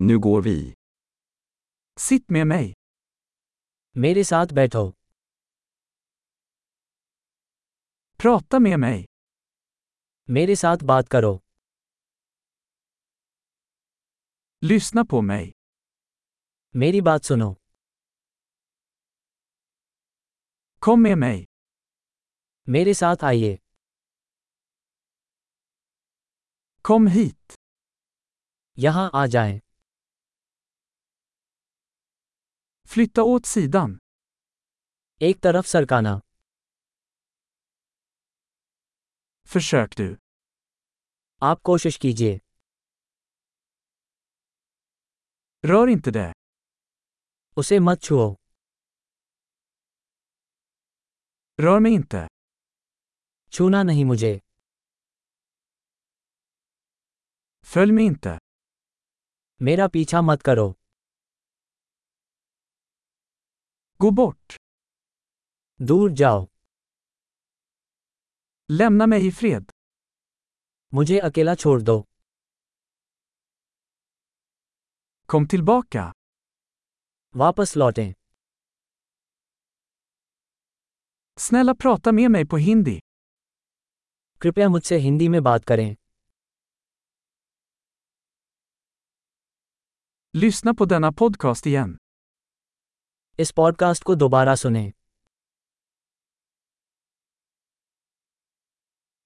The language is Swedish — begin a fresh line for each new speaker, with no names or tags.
Nu går vi. Sitt med mig.
मेरे साथ बैठो
Prata med mig.
मेरे साथ बात करो
Lyssna på mig.
मेरी बात सुनो
Kom med mig.
मेरे साथ आइए
Kom hit.
यहाँ आ जाएं।
Flytta åt sidan.
एक तरफ सरकाना
Försök du.
आप कोशिश कीजिए
Rör inte det.
उसे मत छुओ
Rör mig inte.
छूना नहीं मुझे
Följ mig inte.
मेरा पीछा मत करो
Gå bort.
दूर जाओ
Lämna mig i fred.
मुझे अकेला छोड़ दो
Kom tillbaka.
वापस लौटें
Snälla prata med mig på hindi.
कृपया मुझसे हिंदी में बात करें
Lyssna på denna podcast igen.
इस पॉडकास्ट को दोबारा सुनें